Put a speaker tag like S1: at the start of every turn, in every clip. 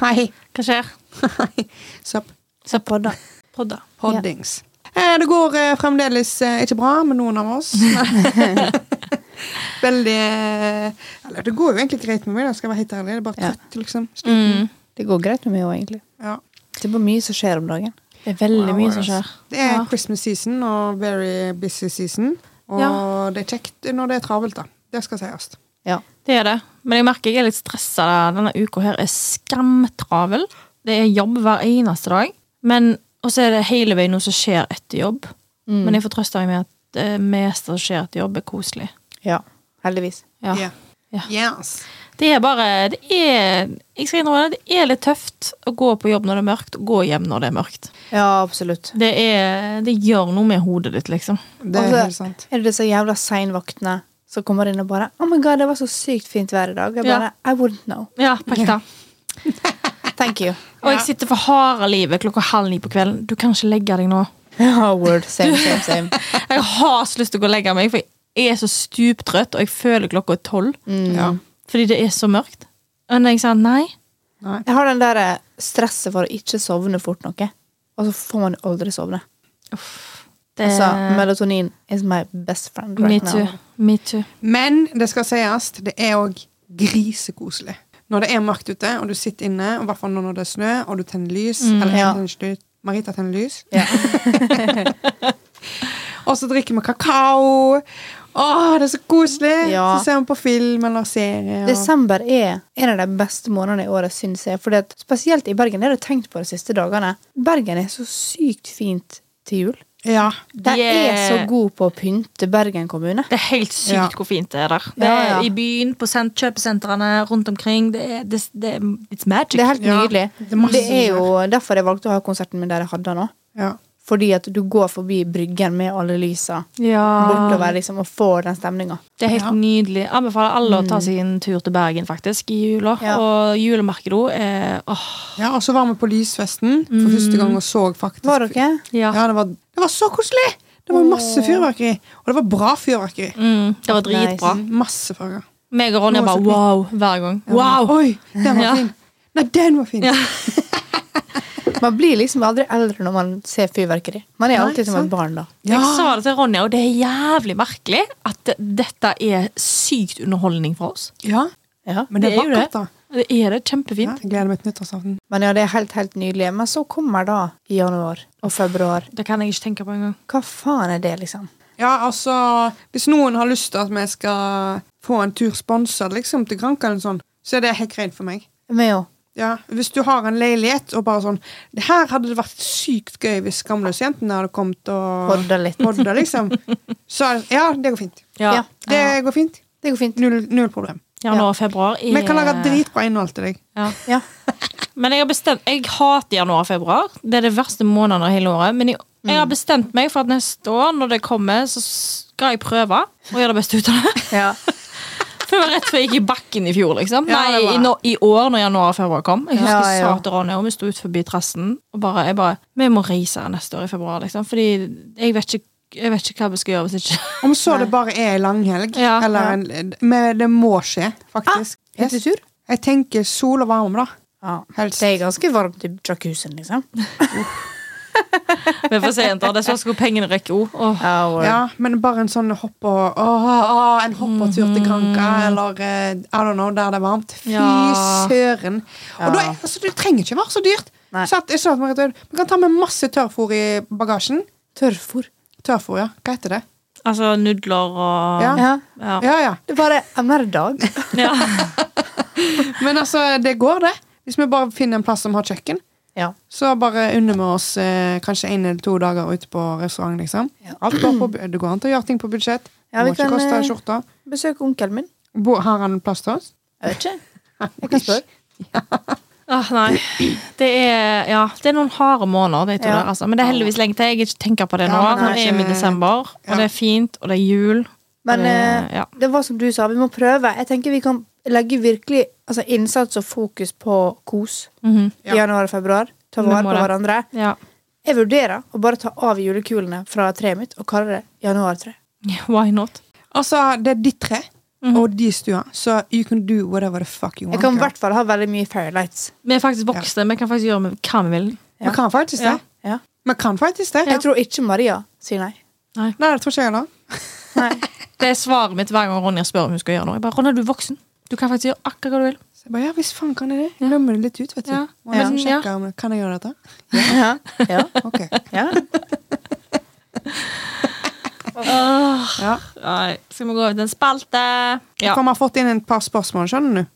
S1: Hei.
S2: Hva skjer?
S1: Hei. Sopp.
S2: Så
S1: Podda.
S2: podda.
S1: Poddings. Eh, Det går eh, fremdeles eh, ikke bra med noen av oss. Veldig eh, Eller det går jo egentlig greit med meg, da, skal jeg være helt ærlig. Det er bare
S3: Ja.
S1: trøtt, liksom.
S2: Mm.
S3: Det går greit med meg òg, egentlig.
S1: Ja.
S3: Det er bare mye som skjer om dagen.
S2: Det er veldig
S1: Wow,
S2: mye som
S1: ass.
S2: skjer.
S1: Det er
S2: Ja.
S1: Christmas season og very busy season. Og
S2: Ja.
S1: det er kjekt når det er travelt, da. Det skal sies.
S3: Ja.
S2: Det er det. Men jeg merker jeg er litt stressa. da. Denne uka her er skamtravel. Det er jobb hver eneste dag. Men, og så er det hele veien noe som skjer etter jobb. Men jeg får trøste meg med at eh, det meste som skjer etter jobb, er koselig.
S3: ja. Heldigvis.
S2: Ja.
S1: Yeah.
S2: Ja.
S1: Yes.
S2: Det er bare det er, Jeg skal innrømme det, det er litt tøft å gå på jobb når det er mørkt, og gå hjem når det er mørkt.
S3: Ja, absolutt.
S2: Det, er, det gjør noe med hodet ditt, liksom.
S1: Det er
S3: Altså-
S1: helt sant.
S3: Er det disse jævla seinvaktene som kommer inn og bare Oh my god, det var så sykt fint vær i dag. Jeg bare, I wouldn't know.
S2: Ja, på ekte.
S3: Thank you.
S2: Og jeg sitter for harde livet klokka halv ni på kvelden. Du kan ikke legge deg nå.
S3: Ja, word. Same, same, same.
S2: Jeg har så lyst til å gå og legge meg, for jeg er så stuptrøtt, og jeg føler klokka er tolv.
S3: Mm.
S1: Ja.
S2: mm. Fordi det er så mørkt. Men jeg sa nei.
S3: Jeg har den der eh, stresset for å ikke sovne fort noe. Og så får man aldri sovne.
S2: Det
S3: Altså, melatonin is my best friend
S2: Me
S3: right
S2: too.
S3: now.
S2: Me too.
S1: Men det skal sies, det er òg grisekoselig. Når det er mørkt ute, og du sitter inne, og i hvert fall når det er snø, og du tenner lys Eller jeg
S3: Mm, ja.
S1: tenner ikke lys. Marita tenner lys.
S3: Ja.
S1: og så drikker vi kakao. Å, det er så koselig!
S3: Ja.
S1: Så ser vi på film eller serie. Og...
S3: Desember er en av de beste månedene i året, syns jeg. Fordi at, spesielt i Bergen. Det har jeg tenkt på de siste dagene. Bergen er så sykt fint til jul.
S1: Ja.
S3: De er
S2: er-
S3: så gode på å pynte Bergen kommune.
S2: Det er helt sykt
S1: Ja.
S2: hvor fint det er der. Det
S3: Ja,
S2: er
S3: ja.
S2: I byen, på sent kjøpesentrene, rundt omkring. Det er, det, det, it's magic.
S3: Det er helt
S1: Ja,
S3: nydelig.
S1: er masse
S3: Det er jo derfor jeg valgte å ha konserten min der jeg hadde den nå.
S1: ja.
S3: Fordi at du går forbi bryggen med alle lysa
S1: Ah.
S2: ja.
S3: bortover liksom, og får den stemninga.
S2: Det er helt
S1: Ja.
S2: nydelig. Jeg anbefaler alle å ta seg en tur til Bergen faktisk i jula.
S3: Mm. Ja.
S2: Og julemarkedet òg. Eh, åh,
S1: ja, og så var vi på Lysfesten for første gang og så faktisk
S3: Mm. Var dere?
S2: ja.
S1: Ja, det var, det var så koselig! Det var masse fyrverkeri. Og det var bra fyrverkeri.
S2: Mm, det var dritbra.
S1: Masse farger.
S2: Meg og
S1: Nå
S2: Ronja
S1: er
S2: bare
S1: det
S2: wow hver gang. Wow!
S1: Oi, den var
S2: Ja.
S1: fin! Nei, den var fin!
S2: Ja.
S3: Man blir liksom aldri eldre når man ser fyrverkeri. Man er
S1: Nei,
S3: alltid som
S1: sant.
S3: et barn da.
S2: Jeg sa det til Ronja, og det er jævlig merkelig at dette er sykt underholdning for oss.
S1: Ja,
S3: Ja.
S1: men det,
S2: Det er
S1: er
S2: jo
S1: vakkert, da.
S2: Det er det.
S1: Ja,
S2: Kjempefint.
S1: jeg gleder meg til nyttårsaften.
S3: Men ja, det er helt, helt nydelig. Men så kommer da i januar og februar.
S2: Det kan jeg ikke tenke på engang.
S3: Hva faen er det, liksom?
S1: Ja, altså, hvis noen har lyst til at vi skal få en tur sponset liksom, til Granca, eller sånn, så er det helt greit for meg.
S3: Men jo.
S1: Ja, Hvis du har en leilighet og bare sånn det Her hadde det vært sykt gøy hvis Skamløsjentene hadde kommet og
S3: Podda litt.
S1: podda, liksom. Så er det- ja, det går fint.
S3: Ja.
S1: Det går fint.
S3: Det går fint.
S1: Null, null problem.
S2: Januar og februar er
S1: Vi kan lage dritbra innhold til deg.
S2: Ja.
S3: Ja.
S2: Men jeg har bestemt Jeg hater januar og februar. Det er det verste måneden av hele året. Men jeg, jeg har bestemt meg for at neste år, når det kommer, så skal jeg prøve å gjøre det beste ut av det.
S3: ja.
S2: For jeg var rett før jeg gikk i bakken i fjor, liksom.
S1: Ja, det
S2: Nei,
S1: var
S2: i, nå- i år, når januar og februar kom. Jeg husker
S3: Ja,
S2: jeg
S3: ja.
S2: sa til Ronja, og vi sto ut forbi terrassen, og bare Jeg bare Vi må reise neste år i februar, liksom. Fordi jeg vet ikke jeg vet ikke hva vi skal gjøre hvis ikke
S1: Om så det bare er ei langhelg,
S2: Ja. Ah,
S1: eller en, men det må skje, faktisk.
S3: Helt
S1: Yes.
S3: tur?
S1: Jeg tenker sol og varme, da.
S3: Ja.
S1: Helst.
S3: Det er ganske varmt i jacuzzien, liksom.
S2: Vi får se, jenter. Det er så skal pengene rekke òg. Åh.
S3: Ja, word.
S1: Ja, men bare en sånn hopp og å, å, En hoppetur til Granca, eller eh, I don't know, der det er varmt. Fy
S2: Mm. Ja.
S1: søren. Og da,
S3: Ja.
S1: er- altså, det trenger ikke være så dyrt.
S3: Nei.
S1: Så at, jeg sa til Marit Aud, Vi kan ta med masse tørrfôr i bagasjen.
S3: Tørrfôr.
S1: Tørrfôr, ja. Hva heter det?
S2: Altså nudler og
S1: Ja.
S3: Ja.
S2: Ja.
S1: Ja, ja.
S3: Det er bare hver dag.
S2: Ja.
S1: Men altså, det går, det. Hvis vi bare finner en plass som har kjøkken.
S3: Ja.
S1: Så bare unner vi oss eh, kanskje en eller to dager ute på restaurant, liksom.
S3: Ja.
S1: Alt går på, bu- det går an til å gjøre ting på budsjett.
S3: Ja,
S1: det
S3: vi
S1: må ikke
S3: kan,
S1: koste
S3: eh,
S1: skjorta.
S3: Besøk onkelen min.
S1: Bo, har han plass til oss?
S3: Jeg vet ikke. Jeg kan spørre.
S2: Åh, nei. Det er, ja, det er noen harde måneder, de to
S3: Ja.
S2: der, altså. Men det er heldigvis lenge til. Jeg ikke tenker på det nå.
S1: Ja, men det er
S2: Nå er vi i
S1: ikke-
S2: desember,
S1: Ja.
S2: og det er fint, og det er jul.
S3: Men
S2: Og det-
S3: eh,
S2: ja.
S3: det var som du sa, vi må prøve. Jeg tenker vi kan legge virkelig altså, innsats og fokus på kos
S2: Mhm.
S1: Ja.
S3: i januar og februar. Ta
S2: Vi
S3: vare
S2: må
S3: på
S2: det.
S3: hverandre.
S2: ja.
S3: Jeg vurderer å bare ta av julekulene fra treet mitt og kalle det januartre.
S2: Why not?
S1: Altså, det er ditt tre. og de stua. Så you can do whatever the fuck you want.
S3: Mhm. Jeg kan i
S1: girl.
S3: hvert fall ha veldig mye Fairlights.
S2: Vi er faktisk voksne, vi kan faktisk gjøre med hva vi vil.
S3: Ja.
S1: Man kan faktisk det.
S2: Ja.
S3: Ja.
S1: Man kan faktisk det.
S3: Jeg tror ikke Maria sier nei.
S1: Nei, det tror ikke jeg heller.
S2: Det er svaret mitt hver gang Ronja spør om hun skal gjøre noe. Jeg bare, Ronja, du er voksen. Du kan faktisk gjøre akkurat hva du vil.
S1: Så jeg bare, ja, hvis faen kan jeg det? Jeg glemmer det litt ut, vet du.
S2: Ja.
S1: Må jeg
S2: Ja.
S1: sjekke om Kan jeg gjøre dette?
S3: Ja. Ja.
S1: Ok.
S3: Ja.
S1: Ja.
S2: Nei, Skal vi gå over til en spalte? Ja,
S1: For vi har fått inn et par spørsmål, skjønner du.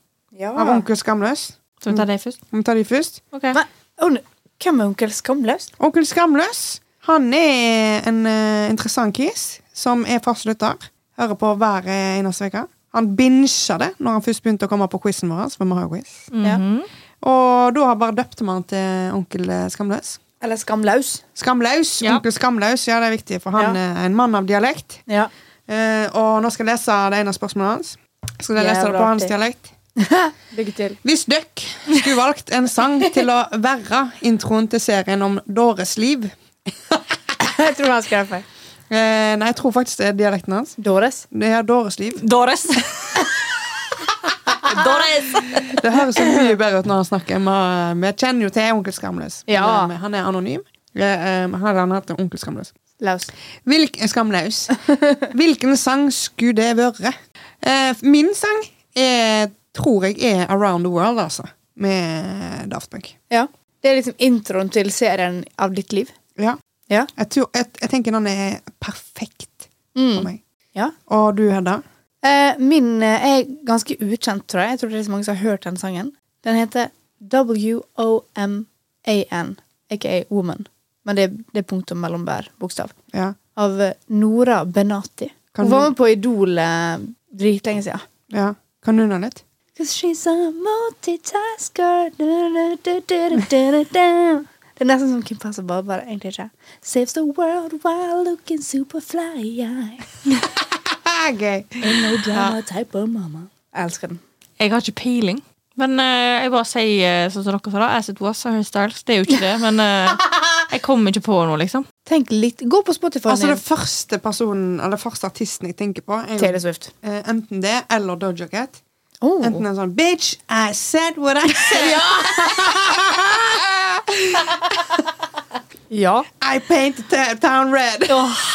S1: Av
S3: ja.
S1: onkel Skamløs.
S2: Skal vi ta deg først?
S1: Må vi ta de først?
S2: Ok.
S3: Nei, on- Hvem er onkel Skamløs?
S1: Onkel Skamløs han er en eh, interessant kis som er fast lytter. Hører på hver eh, eneste uke. Han binsja det når han først begynte å komme på quizen vår. For vi har jo quiz.
S2: Mhm.
S1: Og da har bare døpte man han til onkel eh, Skamløs.
S3: Eller Skamlaus?
S1: Skamlaus!
S2: Ja.
S1: Onkel Skamlaus, ja, det er viktig, for han
S3: Ja.
S1: er en mann av dialekt.
S3: Ja.
S1: Eh, og nå skal jeg lese det ene spørsmålet hans. Skal jeg lese det
S3: Jævla
S1: på hans
S3: artig.
S1: dialekt?
S3: Lykke til.
S1: Hvis døkk skulle valgt en sang til å være introen til serien om Dores liv
S3: Jeg tror han skrev feil.
S1: eh, Nei, jeg tror faktisk det er dialekten hans.
S3: Dores.
S1: Det er Dores liv.
S2: Doris. Doris.
S1: Det høres så mye bedre ut når han snakker. Vi- Vi kjenner jo til Onkel Skamløs.
S3: Ja.
S1: Men, eh, Han er anonym. Eh, eh, men Hadde han hatt en Onkel Skamløs.
S3: Laus.
S1: Hvilk, skamlaus. Hvilken sang skulle det være? Eh, min sang er, tror jeg er Around the World, altså. Med Daft Punk.
S3: Ja. Det er liksom introen til serien av ditt liv.
S1: Ja.
S3: Ja.
S1: Jeg, tror, jeg, jeg tenker den er perfekt
S3: Mm.
S1: for meg.
S3: Ja.
S1: Og du, Hedda?
S3: Eh, min eh, er ganske ukjent, tror jeg. Jeg tror det er så mange som har hørt den sangen. Den heter W-O-M-A-N, aka Woman. Men det, det er punktum mellom hver bokstav.
S1: Ja.
S3: Av eh, Nora Benati.
S1: Kan
S3: Hun var
S1: du-
S3: med på Idol eh, dritlenge siden.
S1: ja. Kan du den litt?
S3: Cause she's a multitasker Du-du-du-du-du-du-du. Det er nesten som Kim Possible, bare egentlig ikke. Saves the world while looking superfly. Ain't Ah,
S1: Gøy.
S3: no drama type of mama. Jeg elsker den.
S2: Jeg har ikke peiling. Men eh, jeg bare sier eh, sånn som dere sa, da. As it was, Harry Styles. Det er jo ikke det, men eh, jeg kommer ikke på noe, liksom.
S3: Tenk litt. Gå på Spotify.
S1: Altså,
S3: din.
S1: det er første personen, eller første artisten jeg tenker på, er jo,
S3: Taylor Swift.
S1: eh, enten det eller Doja Cat.
S3: Oh.
S1: Enten en sånn Bitch, I said what I said.
S3: Ja.
S1: I painted the town red.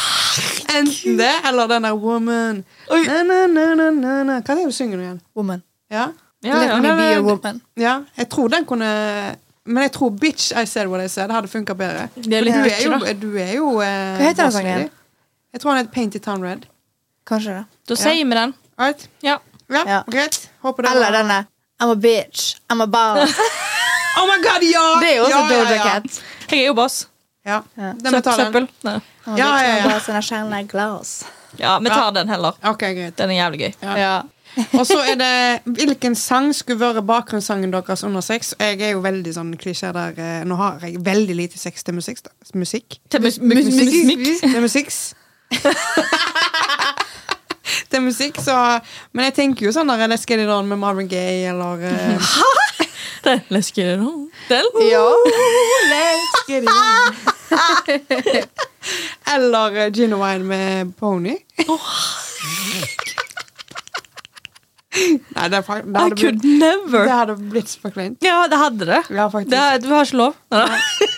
S1: Enten det, eller den der woman.
S2: Oi.
S1: Na, na, na, na, na, na. Hva er det du synger nå igjen?
S3: Woman.
S1: Ja?
S2: Ja,
S3: Let
S2: ja.
S3: me
S1: Nei,
S3: be
S1: nei,
S3: a
S1: nei.
S3: woman.
S1: ja, jeg tror den kunne Men jeg tror Bitch I Said What I Said hadde funka bedre.
S2: Det er litt
S1: du, er
S2: bitchy,
S1: jo,
S2: da.
S1: du er jo eh,
S3: Hva heter den
S1: boss
S3: sangen?
S1: lady. Jeg tror han heter Painted Town Red.
S3: Kanskje det.
S2: Da sier vi den.
S1: Right?
S2: Ja.
S1: Ja,
S3: Ja.
S1: Greit. Håper det var-
S3: Eller denne. I'm a bitch. I'm a boss.
S1: Oh my god, ja!
S3: Det er jo
S1: ja,
S3: også
S1: ja,
S3: Doja
S1: ja.
S3: Cat.
S2: Jeg er jo boss.
S1: Ja.
S3: Ja.
S1: Den må ta den.
S2: Søppel. Nei.
S3: I'm a
S1: Ja, ja,
S3: bitch, I'm a
S1: ja.
S3: boss, and I shine like glass.
S2: Ja, vi tar den heller.
S1: Ok, greit.
S2: Den er jævlig gøy.
S1: Ja. Og så er det hvilken sang skulle være bakgrunnssangen deres under sex. Jeg er jo veldig sånn klisjé der eh, Nå har jeg veldig lite sex til musikk. Da. Musikk.
S2: Til mus mus mus mus mus
S1: Til musikk. til musikk, så Men jeg tenker jo sånn der Let's Get It On med Marvin Gaye, eller eh,
S2: Den lesker du nå. Den?
S3: Ja.
S1: Let's Get It On. eller eh, Gin and Wine med Pony. Nei, det, er fak- det
S2: I
S1: hadde blitt-
S2: could never.
S1: Det hadde blitt så kleint.
S2: Ja, det hadde det.
S1: Ja, faktisk.
S2: det er, du har ikke lov. Nei, da.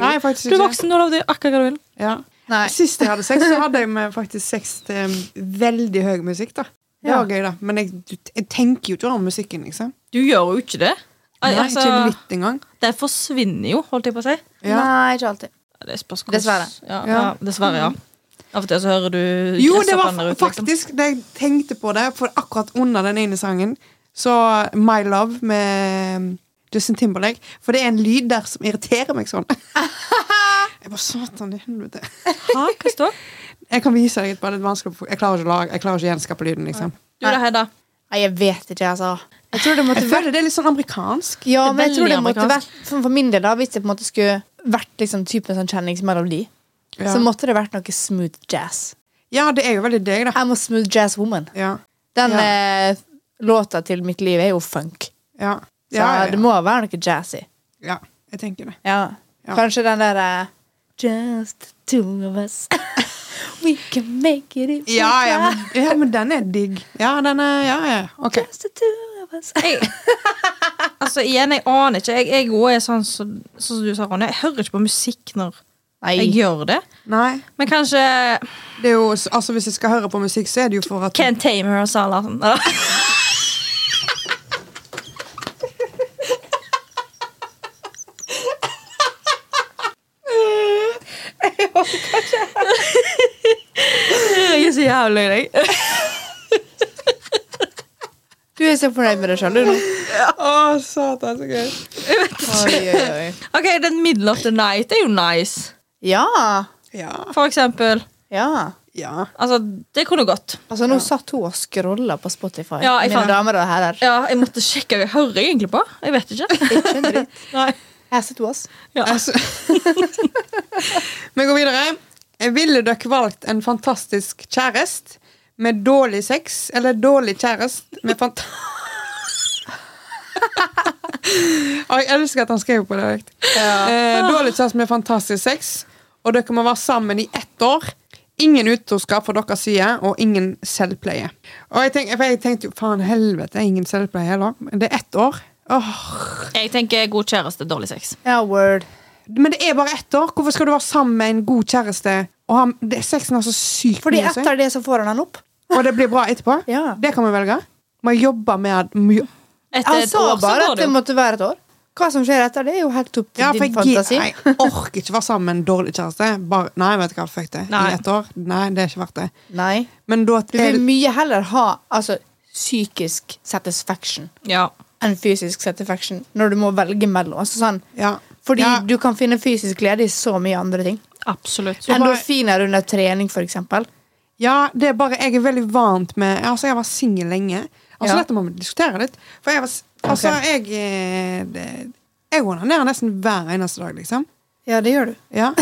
S1: Nei, faktisk
S2: Du
S1: ikke.
S2: er voksen, du har lov til å gjøre akkurat hva du vil.
S1: Ja.
S3: Nei.
S1: Sist jeg hadde sex, så hadde jeg med faktisk sex til um, veldig høy musikk. da Det var gøy, da. Men jeg, du- jeg tenker jo ikke over musikken, liksom.
S2: Du gjør jo ikke det. Al-
S1: Nei,
S2: altså,
S1: Ikke litt engang.
S2: det forsvinner jo, holdt jeg på å si.
S1: Ja.
S3: Nei, ikke alltid.
S2: Det spørs hvordan-
S3: Dessverre.
S2: Ja,
S1: Ja.
S2: ja. dessverre, ja. Av og til så hører du
S1: Jo,
S2: gresset
S1: det var
S2: brenner ut, liksom.
S1: faktisk det jeg tenkte på det, for akkurat under den ene sangen, så My Love med um, Justin Timberlake. For det er en lyd der som irriterer meg sånn. Jeg bare Satan i helvete.
S2: Hæ, hva står?
S1: Jeg kan vise deg et bare litt vanskelig Jeg klarer ikke å lage Jeg klarer ikke å gjenskape lyden, liksom.
S2: Du da, Hedda.
S3: Nei, jeg vet ikke, altså. Jeg tror det måtte
S1: Jeg
S3: vært
S1: føler det er litt sånn amerikansk.
S3: ja,
S2: Det er
S3: men jeg tror det
S2: veldig
S3: måtte vært,
S2: amerikansk.
S3: for, for min del da, Hvis det på en måte skulle vært liksom, typen sånn kjenningsmelodi,
S1: Ja.
S3: så måtte det vært noe smooth jazz.
S1: Ja, det er jo veldig deg, da.
S3: I'm a smooth jazz woman.
S1: Ja.
S3: Den
S1: Ja.
S3: eh, låta til mitt liv er jo funk.
S1: Ja.
S3: Så det må være noe jazzy.
S1: Ja, jeg tenker det.
S3: Ja.
S1: Ja.
S3: Kanskje den der eh, Just the two of us We can make it if we
S1: Ja, ja,
S3: try.
S1: men, ja, men den er digg. Ja, den er Ja, ja. OK.
S3: Just the two of us.
S2: Jeg, altså igjen, jeg aner ikke. Jeg, jeg også er sånn som sånn som du sa, Ronny. Jeg hører ikke på musikk når jeg gjør det.
S1: Nei.
S2: Men kanskje
S1: Det er jo, altså, hvis jeg skal høre på musikk, så er det jo for at
S2: Can't Tame Her og Salah. Sånn. Jeg er så jævlig lei deg.
S3: Du er så fornøyd med deg sjøl, du nå.
S1: Å, satan, så gøy.
S3: Oi, oi, oi.
S2: Ok, den middle of the night er jo nice.
S3: Ja.
S1: Ja.
S2: For eksempel.
S3: Ja.
S1: ja.
S2: Altså, det kunne gått.
S3: Altså, nå satt hun og scrolla på Spotify.
S2: Ja, jeg
S3: Mine
S2: fant-
S3: damer og herrer.
S2: Ja, jeg måtte sjekke. Hva jeg hører jeg egentlig på? Jeg vet ikke.
S3: Ikke en dritt.
S2: Nei.
S3: Her sitter hun, ass.
S2: Ja.
S1: Altså. Vi går videre. Ville dere valgt en fantastisk kjæreste med dårlig sex, eller dårlig kjæreste med fant... Å, jeg elsker at han skrev på det. Direkt. Eh, dårlig kjæreste med fantastisk sex, og dere må være sammen i ett år. Ingen utroskap fra deres side, og ingen selvpleie. Og jeg, tenk, for jeg tenkte jo, faen helvete, ingen selvpleie heller. Det er ett år. Åh,
S2: Jeg tenker god kjæreste, dårlig sex.
S3: Ja, word.
S1: men det er bare ett år. Hvorfor skal du være sammen med en god kjæreste? Og han, det, sexen har så sykt
S3: Fordi
S1: mye å si,
S3: etter det så får han han opp.
S1: og det blir bra etterpå?
S3: Ja.
S1: Det kan vi velge. Må jeg jobbe med mye-
S2: Etter
S3: Han
S2: et
S3: sa
S2: år så går
S3: bare at det
S2: det jo.
S3: måtte være et år. Hva som skjer etter det, er jo helt opp til
S1: ja, for jeg,
S3: din
S1: gir-
S3: fantasi.
S1: nei, jeg orker ikke være sammen med en dårlig kjæreste. Bare, nei, vet du hva, fuck det.
S2: Nei.
S1: I ett år. Nei, det er ikke verdt det.
S3: Nei.
S1: Men da
S3: Du
S1: er
S3: vil
S1: det
S3: mye heller ha altså, psykisk satisfaction
S2: Ja.
S3: enn fysisk satisfaction når du må velge mellom. Altså, sånn,
S1: ja.
S3: fordi
S1: Ja.
S3: du kan finne fysisk glede i så mye andre ting.
S2: Absolutt.
S1: bare-
S3: Endorfiner under trening, for eksempel.
S1: Ja, det er bare Jeg er veldig vant med Altså, jeg var singel lenge. Altså,
S3: Ja.
S1: Dette må vi diskutere litt. For jeg var s- Altså, jeg eh, det- Jeg onanerer nesten hver eneste dag, liksom.
S3: Ja, det gjør du.
S1: Ja.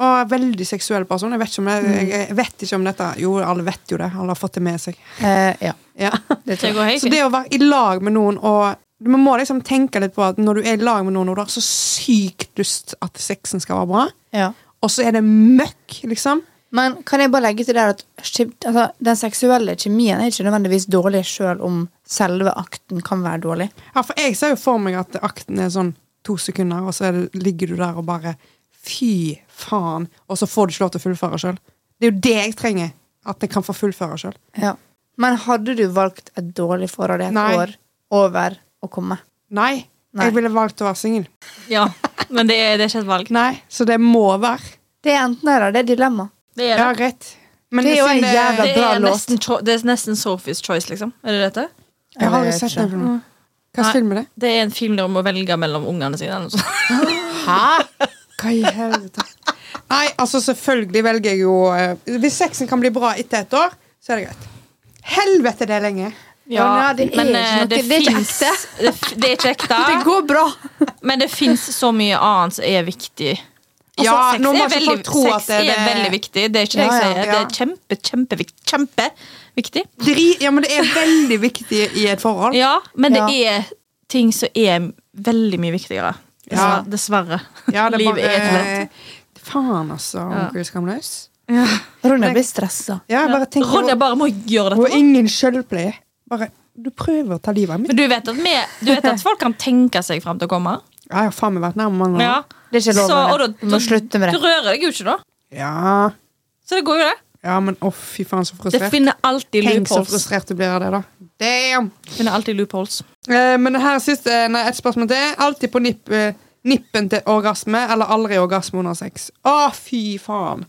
S1: Og er veldig seksuell person. Jeg vet ikke om, det,
S3: Mm.
S1: jeg vet ikke om dette Jo, alle vet jo det. Alle har fått det med seg.
S3: Eh, ja,
S1: Ja.
S3: det
S2: Det
S3: tror jeg.
S2: går helt
S1: Så det å
S2: fint.
S1: være i lag med noen og Man må liksom tenke litt på at når du er i lag med noen og du har så sykt lyst at sexen skal være bra,
S3: Ja.
S1: og så er det møkk, liksom.
S3: Men kan jeg bare legge til der at kjem- altså, den seksuelle kjemien er ikke nødvendigvis dårlig selv om selve akten kan være dårlig.
S1: Ja, for jeg ser jo for meg at akten er sånn to sekunder, og så er det, ligger du der og bare Fy faen. Og så får du ikke lov til å fullføre sjøl. Det er jo det jeg trenger. At jeg kan få fullføre sjøl.
S3: Ja. Men hadde du valgt et dårlig forhold i et
S1: Nei.
S3: år over å komme?
S1: Nei,
S3: Nei.
S1: jeg ville valgt å være singel.
S2: Ja. Men det er, det er ikke et valg.
S1: Nei, så det må være.
S3: Det er enten eller, det er dilemma.
S2: Det er,
S1: Ja,
S2: det.
S1: rett. Men
S3: Det er jo
S1: siden
S3: en jævla
S2: eh, Det
S3: bra
S2: er,
S3: låt.
S2: nesten, cho- det er nesten Sophies Choice, liksom. Er det dette?
S1: Jeg har aldri
S3: vet
S1: sett
S3: ikke.
S1: den filmen. Hva
S2: Nei.
S1: slags film er det?
S2: Det er en film der om å velge mellom ungene sine. eller noe sånt.
S3: Hæ?
S1: Hva i helvete? Nei, altså selvfølgelig velger jeg jo eh, Hvis sexen kan bli bra etter et år, så er det greit. Helvete, det er lenge.
S3: Ja, nei, det er
S2: men
S3: ikke
S2: eh,
S3: noe- det er ikke
S2: finnes-
S3: ekte.
S2: Det, f- det er ikke ekte.
S3: Det går bra!
S2: Men det fins så mye annet som er viktig. Altså,
S1: Ja,
S2: sex
S1: nå må
S2: er
S1: ikke
S2: veldig,
S1: folk tro
S2: sex
S1: at det er
S2: er
S1: det-
S2: veldig viktig. Det er ikke det
S1: Ja, ja,
S2: jeg sier. Det
S1: ja.
S2: er kjempe, kjempeviktig. Kjempeviktig.
S1: Dri, ja, men det er veldig viktig i et forhold.
S2: Ja, men det er ting som er veldig mye viktigere.
S1: Ja.
S2: Så Dessverre.
S1: Ja, det er
S2: Livet er
S1: bare,
S2: et lett.
S1: eh, Faen, altså.
S2: Ja.
S1: Onkel skamløs.
S3: Ronja blir stressa.
S1: Ja, jeg bare tenker
S2: Ronja bare må gjøre
S1: Og
S2: dette.
S1: ingen sjølpleie. Bare Du prøver å ta livet av mitt.
S2: Men du vet, at vi, du vet at folk kan tenke seg fram til å komme?
S1: Jeg har faen meg vært nær mange ganger.
S2: Ja.
S3: Det er ikke lov.
S2: Så, og
S3: Ronja.
S2: da,
S3: Du må slutte med
S2: Du
S3: det.
S2: rører deg jo ikke, da.
S1: Ja.
S2: Så det går jo, det.
S1: ja, men å, fy faen, så
S2: Det
S1: frustrert.
S2: finner alltid
S1: Tenk så
S2: loopholes.
S1: frustrert du blir av det, da. Damn!
S2: Finner alltid loopholes.
S1: Eh, men det her siste, nei, et spørsmål til. Alltid på nipp, eh, nippen til orgasme, eller aldri orgasme under sex. Å, fy faen!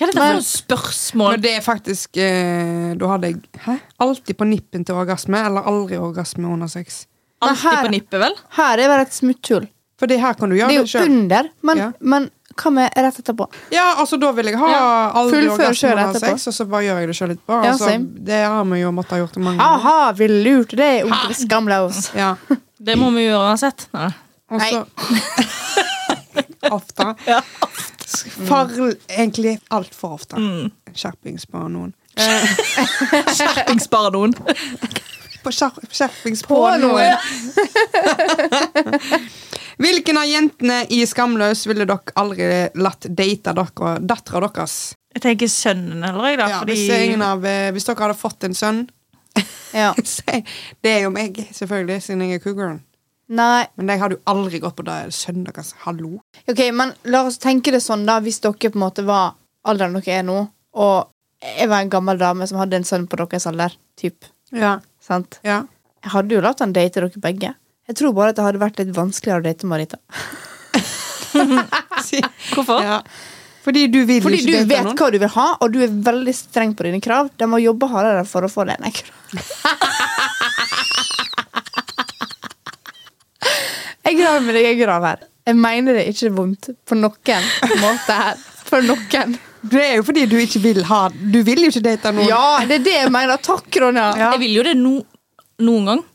S2: Hva er dette for noen spørsmål?
S1: Men det er faktisk eh, Da hadde jeg Hæ? Alltid på nippen til orgasme, eller aldri orgasme under sex.
S3: Men
S2: Alltid
S3: her-
S2: på nippet, vel?
S3: Her er bare et smutthull.
S1: For det her kan du
S3: Det
S1: gjøre
S3: er
S1: det
S3: jo
S1: sjøl.
S3: under, men,
S1: Ja.
S3: men hva med rett etterpå?
S1: Ja, altså, da vil jeg ha
S2: Ja,
S1: aldri
S3: fullfør
S1: orgasme
S3: selv
S1: under
S3: etterpå.
S1: sex, og så bare gjør jeg det sjøl etterpå.
S3: Ja,
S1: altså,
S3: same. Ah.
S1: det har vi jo måttet ha gjort mange ganger.
S3: Aha, vi lurte deg, onkel Skamlaus.
S1: Ja.
S2: Det må vi gjøre uansett. Nei.
S1: Og så Ofte. Mm.
S2: Ja.
S1: Farl egentlig altfor ofte.
S2: Mm.
S1: Skjerpings på noen.
S2: Eh. Skjerpings bare noen.
S1: På skjer- skjerpings på,
S3: På
S1: noen. Hvilken av jentene i Skamløs ville dere aldri latt date dere, dattera deres?
S2: Jeg tenker sønnen eller jeg, da.
S1: Ja,
S2: fordi
S1: hvis, ingen av, eh, hvis dere hadde fått en sønn
S3: Ja.
S1: si- Det er jo meg, selvfølgelig, siden jeg er cougaren.
S3: Nei.
S1: Men jeg hadde jo aldri gått på det sønnen deres. Hallo?
S3: Ok, men la oss tenke det sånn, da. Hvis dere på en måte var alderen dere er nå, og jeg var en gammel dame som hadde en sønn på deres alder, typ,
S1: Ja.
S3: sant?
S1: ja.
S3: Jeg hadde jo latt han date dere begge. Jeg tror bare at det hadde vært litt vanskeligere å date Marita.
S1: Si-
S2: Hvorfor?
S1: ja. Fordi du vil
S3: Fordi du
S1: jo ikke
S3: vet
S1: date noen.
S3: hva du vil ha, og du er veldig streng på dine krav. De må jobbe hardere for å få det ene krav. Jeg graver med deg, jeg graver her. Jeg mener det ikke vondt på noen måte her. For noen.
S1: Det er jo fordi du ikke vil ha Du vil jo ikke date noen.
S3: Ja, det er det jeg mener. Takk, Ronja.
S1: Ja.
S2: Jeg vil jo det no noen gang.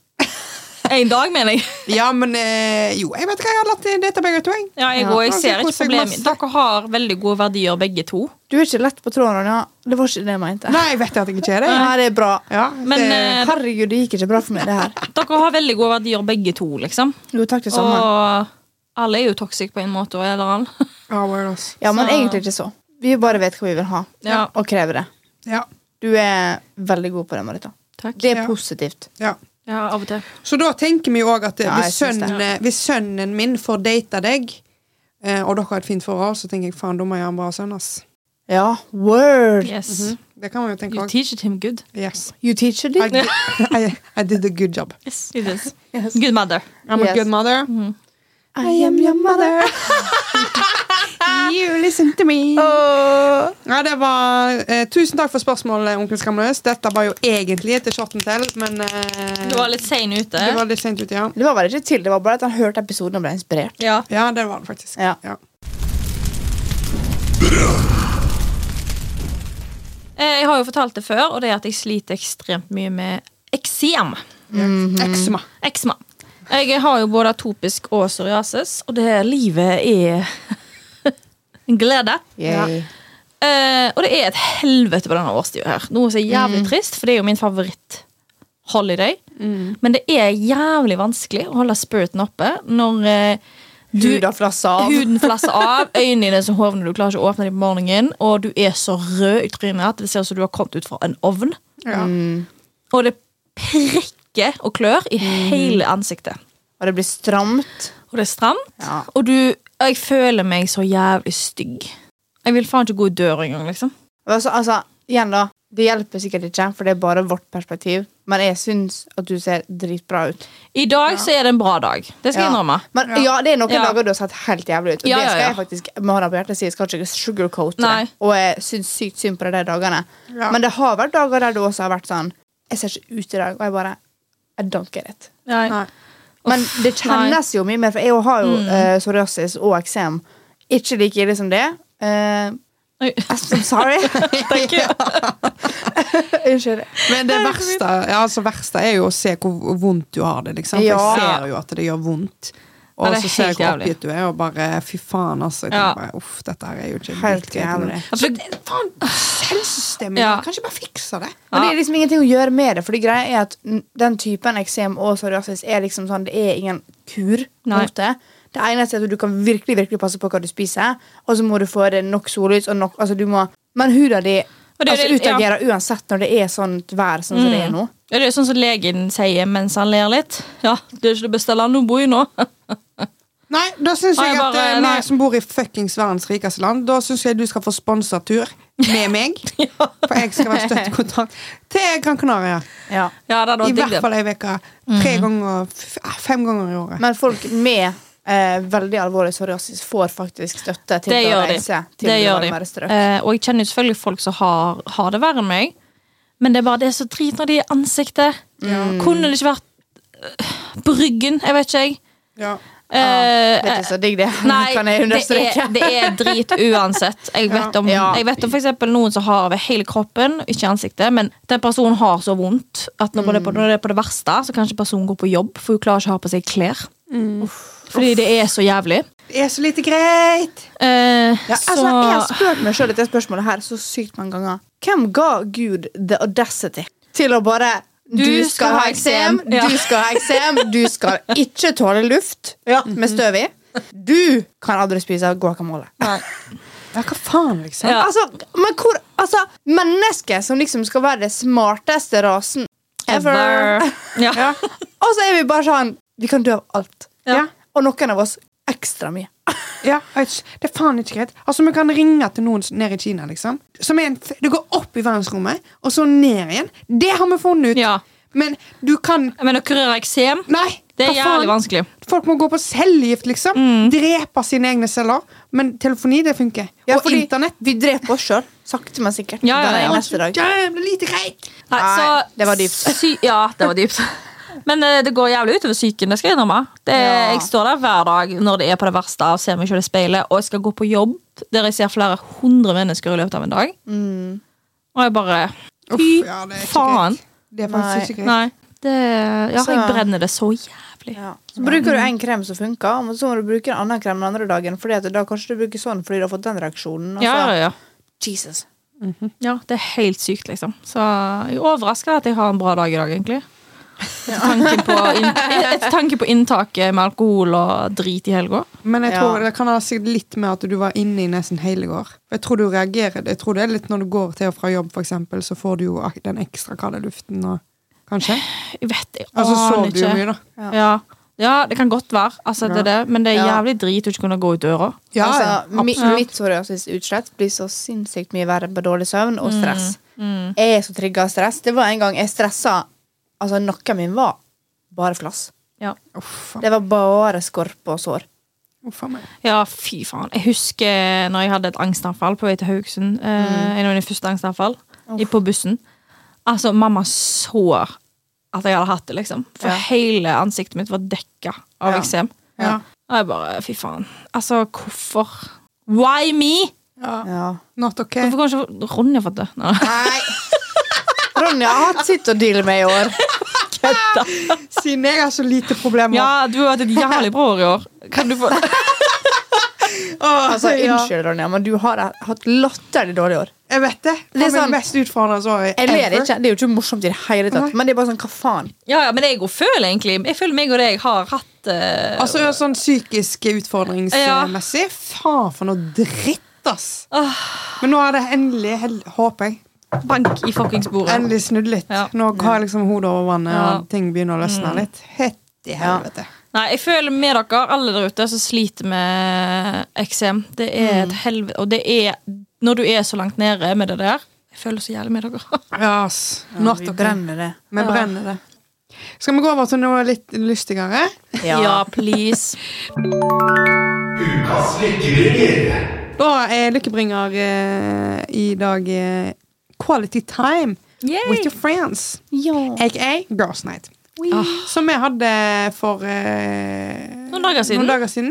S2: En dag, mener jeg.
S1: Ja, men eh, jo, jeg vet hva jeg hadde latt date begge to. jeg.
S2: Ja, jeg,
S3: Ja.
S2: og jeg
S1: Ok,
S2: ser ikke
S1: kos deg
S2: problemet.
S1: masse.
S2: Dere har veldig gode verdier, begge to.
S3: Du er ikke lett på tråden, Ronja. Det var ikke det jeg mente.
S1: Nei, vet jeg at jeg ikke er det.
S3: Nei, det er bra.
S1: Ja,
S2: Men,
S1: det,
S2: eh,
S3: Herregud, det gikk ikke bra for meg, det her.
S2: Dere har veldig gode verdier, begge to. liksom
S3: Jo, takk, det samme.
S2: Og alle er jo toxic på en måte. og Eller annen.
S3: eh,
S1: Ja, word, ass.
S3: Ja, men
S2: Så-
S3: egentlig ikke så. Vi bare vet hva vi vil ha,
S2: Ja.
S3: og krever det.
S1: Ja,
S3: Du er veldig god på det, Marita.
S2: Takk.
S3: Det er
S1: Ja.
S3: positivt.
S1: ja.
S2: Ja, av og til.
S1: Så da tenker vi jo òg at eh,
S3: Ja, jeg
S1: hvis,
S3: syns det.
S1: sønnen, eh, hvis sønnen min får date deg, eh, og dere har et fint forhold, så tenker jeg faen, da må jeg ha en bra sønn, ass.
S3: Ja, word!
S2: Yes.
S1: Det kan man jo tenke
S2: You
S1: òg.
S2: teach him good.
S1: Yes.
S3: You teacher
S1: I
S3: did.
S1: did, I, I did a good job.
S2: Yes, you did.
S3: Yes.
S2: Good mother.
S1: I'm a
S3: Yes.
S1: good mother.
S3: I am your mother.
S1: You listen to me. Ja, det var, eh, tusen takk for spørsmålet, onkel Skamløs. Dette var jo egentlig etter shorten til, men eh,
S2: Du var litt sein ute.
S1: det var litt sent ute, ja.
S3: Det var vel ikke til, det var bare at han hørte episoden og ble inspirert.
S2: Ja.
S1: Ja, det var det faktisk.
S3: Ja.
S1: Ja.
S2: Eh, Jeg har jo fortalt det før, og det er at jeg sliter ekstremt mye med eksem.
S1: Eksema.
S2: Eksma. Jeg har jo både atopisk og psoriasis, og det livet er en glede.
S3: Yay.
S2: Eh, og det er et helvete på denne årstida her. Noe som er jævlig trist, for det er jo min favoritt holiday. Men det er jævlig vanskelig å holde spiriten oppe når eh, du
S3: Huda flassa av.
S2: Huden flasser av, øynene dine som hovner, du klarer ikke å åpne dem på morgenen, og du er så rød i trynet at det ser ut som du har kommet ut fra en ovn.
S1: Ja.
S2: Og det prikker og klør i hele ansiktet.
S3: Og det blir stramt.
S2: Og det er stramt.
S3: Ja.
S2: Og du, jeg føler meg så jævlig stygg. Jeg vil faen ikke gå i døra engang, liksom.
S3: Altså, altså, igjen da, det hjelper sikkert ikke, for det er bare vårt perspektiv. Men jeg syns at du ser dritbra ut.
S2: I dag så er det en bra dag. Det skal jeg innrømme.
S3: Men
S1: Ja.
S3: ja, det er noen
S2: Ja.
S3: dager du har sett helt jævlig ut. Og
S2: Ja,
S3: det
S2: ja,
S3: skal
S2: ja.
S3: jeg faktisk med hånda på hjertet si. Jeg skal ikke sugarcoate
S2: Nei.
S3: det. Og jeg syns sykt synd på det de dagene.
S1: Ja.
S3: Men det har vært dager der det også har vært sånn Jeg ser ikke ut i dag, og jeg bare I don't get it.
S2: Nei.
S1: Nei.
S3: Men det kjennes jo mye mer, for jeg har jo
S2: Mm.
S3: eh, psoriasis og eksem. Ikke like ille som det. Eh,
S2: Oi.
S3: I'm sorry. Unnskyld.
S1: Men det verste, ja, altså verste er jo å se hvor vondt du har det. Liksom. For
S3: Ja.
S1: Jeg ser jo at det gjør vondt.
S2: Ja,
S1: Og
S2: det er
S1: så ser jeg
S2: helt
S1: hvor
S2: jævlig.
S1: oppgitt du er, og bare fy faen, altså. Jeg
S2: Ja.
S1: tenker
S2: Altså,
S1: bare, Uff, dette her er jo ikke
S3: Helt
S1: greit, men-
S3: jævlig.
S1: Så det- Faen, helsesystemet
S2: Ja.
S1: ja. kan ikke bare fikse det.
S3: Men det er liksom ingenting å gjøre med det, for det greia er at n- den typen eksem og psoriasis er liksom sånn, det er ingen kur
S2: Nei.
S3: mot det. Det eneste er at du kan virkelig, virkelig passe på hva du spiser, og så må du få det nok sollys, og nok, altså du må, men huden din
S2: Og det er
S3: altså,
S2: det- ja.
S3: utagerer uansett når det er sånt vær sånn som det er nå.
S2: Ja, det er sånn som legen sier mens han ler litt. Ja, det er ikke det beste landet å bo i nå.
S1: Nei, da syns
S2: Nei,
S1: jeg
S2: jeg
S1: at
S2: bare-
S1: eh,
S2: nei.
S1: vi som bor i fuckings verdens rikeste land, da syns jeg du skal få sponsortur med meg. For jeg skal være støttekontakt til Gran Canaria.
S3: Ja.
S2: Ja, det hadde
S1: I
S2: vært digg,
S1: hvert
S2: det.
S1: fall ei uke. Tre ganger f- ah, Fem ganger i året.
S3: Men folk med eh, veldig alvorlig psoriasis får faktisk støtte til
S2: Det
S3: å
S2: gjør de.
S3: reise til
S2: Det gjør de.
S3: varmere strøk.
S2: Eh, og jeg kjenner jo selvfølgelig folk som har, har det verre enn meg, men det er bare det er så drit når de er i ansiktet. Kunne det ikke vært øh, på ryggen? Jeg vet ikke, jeg.
S1: Ja.
S2: Eh,
S3: Det er ikke så digg det,
S2: Nei,
S3: kan jeg understreke.
S2: Det er, det er drit uansett. Jeg vet om,
S3: Ja.
S2: jeg vet om for eksempel noen som har over hele kroppen, ikke ansiktet, men den personen har så vondt at når, det, er på, når det er på det verste, så kan ikke personen gå på jobb, for hun klarer ikke å ha på seg klær. Uff. Fordi det er så jævlig.
S1: Det er så lite greit!
S2: Eh,
S3: Ja,
S2: så,
S3: altså, jeg har spurt meg sjøl dette spørsmålet her så sykt mange ganger. Hvem ga Gud the audacity til å bare Du, skal ha eksem,
S2: Ja.
S3: du skal ha eksem, du skal ikke tåle luft med støv i. Du kan aldri spise guacamole.
S2: Nei.
S1: Ja, hva faen, liksom?
S2: Ja.
S3: Altså, men hvor, altså, mennesket som liksom skal være det smarteste rasen ever.
S2: Ja.
S1: Ja.
S3: Og så er vi bare sånn Vi kan dø av alt.
S2: Ja.
S3: Og noen av oss ekstra mye.
S1: Ja, jeg vet ikke. det er faen ikke greit. Altså, Vi kan ringe til noen nede i Kina, liksom. Som er en, f- du går opp i verdensrommet, og så ned igjen. Det har vi funnet ut!
S2: Ja.
S1: Men du kan
S2: Men å kurere eksem,
S1: Nei!
S2: det er
S1: hva faen?
S2: jævlig vanskelig.
S1: Folk må gå på cellegift, liksom. Drepe sine egne celler. Men telefoni, det funker.
S3: Ja,
S1: og
S3: fordi
S1: internett.
S3: Vi dreper oss sjøl, sakte, men sikkert.
S2: Ja, ja,
S3: Den
S2: ja.
S3: ene Neste dag.
S1: Jævlig lite greit!
S2: Nei,
S3: Nei,
S2: så-
S3: det var dypt.
S2: Sy ja, det var dypt. Men eh, det går jævlig utover psyken. det skal Jeg innrømme. Det,
S3: Ja.
S2: Jeg står der hver dag når det er på det verste og ser meg selv i speilet, og jeg skal gå på jobb der jeg ser flere hundre mennesker i løpet av en dag. Mm. Og jeg bare
S1: Uff,
S2: Fy
S1: ja, det er ikke
S2: faen.
S1: greit. Det er faktisk
S3: Nei.
S1: ikke greit.
S2: Nei. Det, ja,
S3: Så-
S2: jeg brenner det så jævlig.
S3: Ja. Så bruker du en krem som funker, men så må du bruke en annen krem den andre dagen. Fordi at da kanskje du bruker sånn fordi du har fått den reaksjonen. og
S2: Ja,
S3: så-
S2: ja, ja.
S3: Jesus.
S2: ja, det er helt sykt, liksom. Så jeg er overraska at jeg har en bra dag i dag, egentlig. Tanken på inn, etter tanke på inntaket med alkohol og drit i helga.
S1: Men jeg
S3: Ja.
S1: tror det kan ha sikkert litt med at du var inne i nesten hele går. Jeg tror du reagerer Jeg tror det er litt når du går til og fra jobb, for eksempel, så får du jo ak- den ekstra kalde luften og Kanskje?
S2: Jeg vet, jeg
S1: Altså
S2: aner
S1: sov du jo
S2: ikke.
S1: mye, da.
S2: Ja. Ja. det kan godt være, altså, det er det. men det er
S3: Ja.
S2: jævlig drit å ikke kunne gå ut døra.
S1: Ja,
S3: altså,
S1: ja,
S3: mi,
S1: absolutt.
S3: mitt psoriasis-utslett blir så sinnssykt mye verre på dårlig søvn
S1: Mm,
S3: og stress. Jeg er så trigga av stress. Det var en gang jeg stressa Altså, nakken min var bare flass.
S2: Ja.
S1: Uff
S3: Det var bare skorpe og sår.
S1: uff a meg.
S2: ja, fy faen. Jeg husker når jeg hadde et angstanfall på vei til Haugesund.
S1: Mm.
S2: Eh, en av mine første angstanfall i- på bussen. Altså, mamma så at jeg hadde hatt det, liksom. For
S3: Ja.
S2: hele ansiktet mitt var dekka av
S3: Ja.
S2: eksem.
S1: Ja.
S2: Og jeg bare Fy faen. Altså, hvorfor? Why me?
S3: Ja.
S1: Not ok.
S2: Hvorfor kan ikke Ronja fått det? Nei.
S3: Nei. Ronja har hatt sitt å deale med i år.
S1: Siden jeg har så lite problemer.
S2: Ja, du har hatt et jævlig bra år i år. Kan du få
S1: Åh,
S3: Altså,
S1: ja.
S3: Unnskyld, Ronja, men du har hatt latterlig dårlig år.
S1: Jeg vet det. Det
S3: Det
S1: er
S3: er sånn-
S1: sånn mest utfordrende året
S3: Jeg ler
S1: ever.
S3: ikke. Det er jo ikke morsomt i det hele tatt.
S1: Nei.
S3: Men det er bare sånn, hva faen?
S2: Ja, ja, men jeg også føler egentlig Jeg føler meg og deg har hatt eh,
S1: Altså sånn psykisk utfordringsmessig. Faen for noe dritt, ass. Men nå er det endelig, hel- håper jeg,
S2: bank i fuckings bordet.
S1: endelig snudd litt.
S2: Ja.
S1: Nå har jeg liksom hodet over vannet,
S2: Ja.
S1: og ting begynner å løsne litt. Hett i helvete.
S2: Nei, jeg føler med dere, alle der ute som sliter med eksem. Det er et helvete Og det er Når du er så langt nede med det der Jeg føler så jævlig med dere.
S1: Ja, ass. Not
S3: vi
S1: ok.
S3: brenner det.
S1: Vi brenner det. Skal vi gå over til noe litt lystigere?
S2: Ja, please.
S4: Ukas lykkeringer.
S1: Da er lykkebringer eh, i dag eh, Quality time
S2: Yay!
S1: with your friends. aka Girls Night.
S2: Ah.
S1: Som vi hadde for eh,
S2: Noen dager siden.
S1: noen dager siden.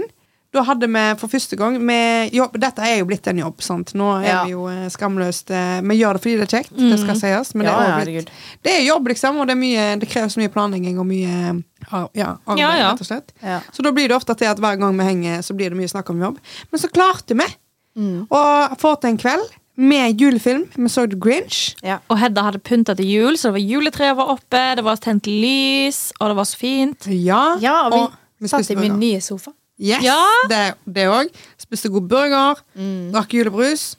S1: Da hadde vi for første gang vi jobb, Dette er jo blitt en jobb, sant. Nå er
S3: Ja.
S1: vi jo eh, skamløst eh, Vi gjør det fordi det er kjekt, det
S2: Mhm.
S1: skal sies, men
S3: Ja,
S1: det, er
S3: ja,
S1: også blitt, det er jobb, liksom, og det, er mye, det kreves mye planlegging og mye eh, ja, arbeid,
S2: Ja, ja.
S1: rett og slett.
S3: Ja.
S1: Så da blir det ofte til at hver gang vi henger, så blir det mye snakk om jobb. Men så klarte vi
S2: Mm.
S1: å få til en kveld med julefilm. Vi så The Grinch.
S3: Ja.
S2: Og Hedda hadde pynta til jul, så det var juletreet var oppe, det var tent lys, og det var så fint.
S1: Ja,
S3: ja, og vi, satt
S1: spiste
S3: i min
S1: burger.
S3: nye sofa.
S1: Yes,
S2: Ja.
S1: det- det òg. Spiste god burger,
S3: Mm.
S1: drakk julebrus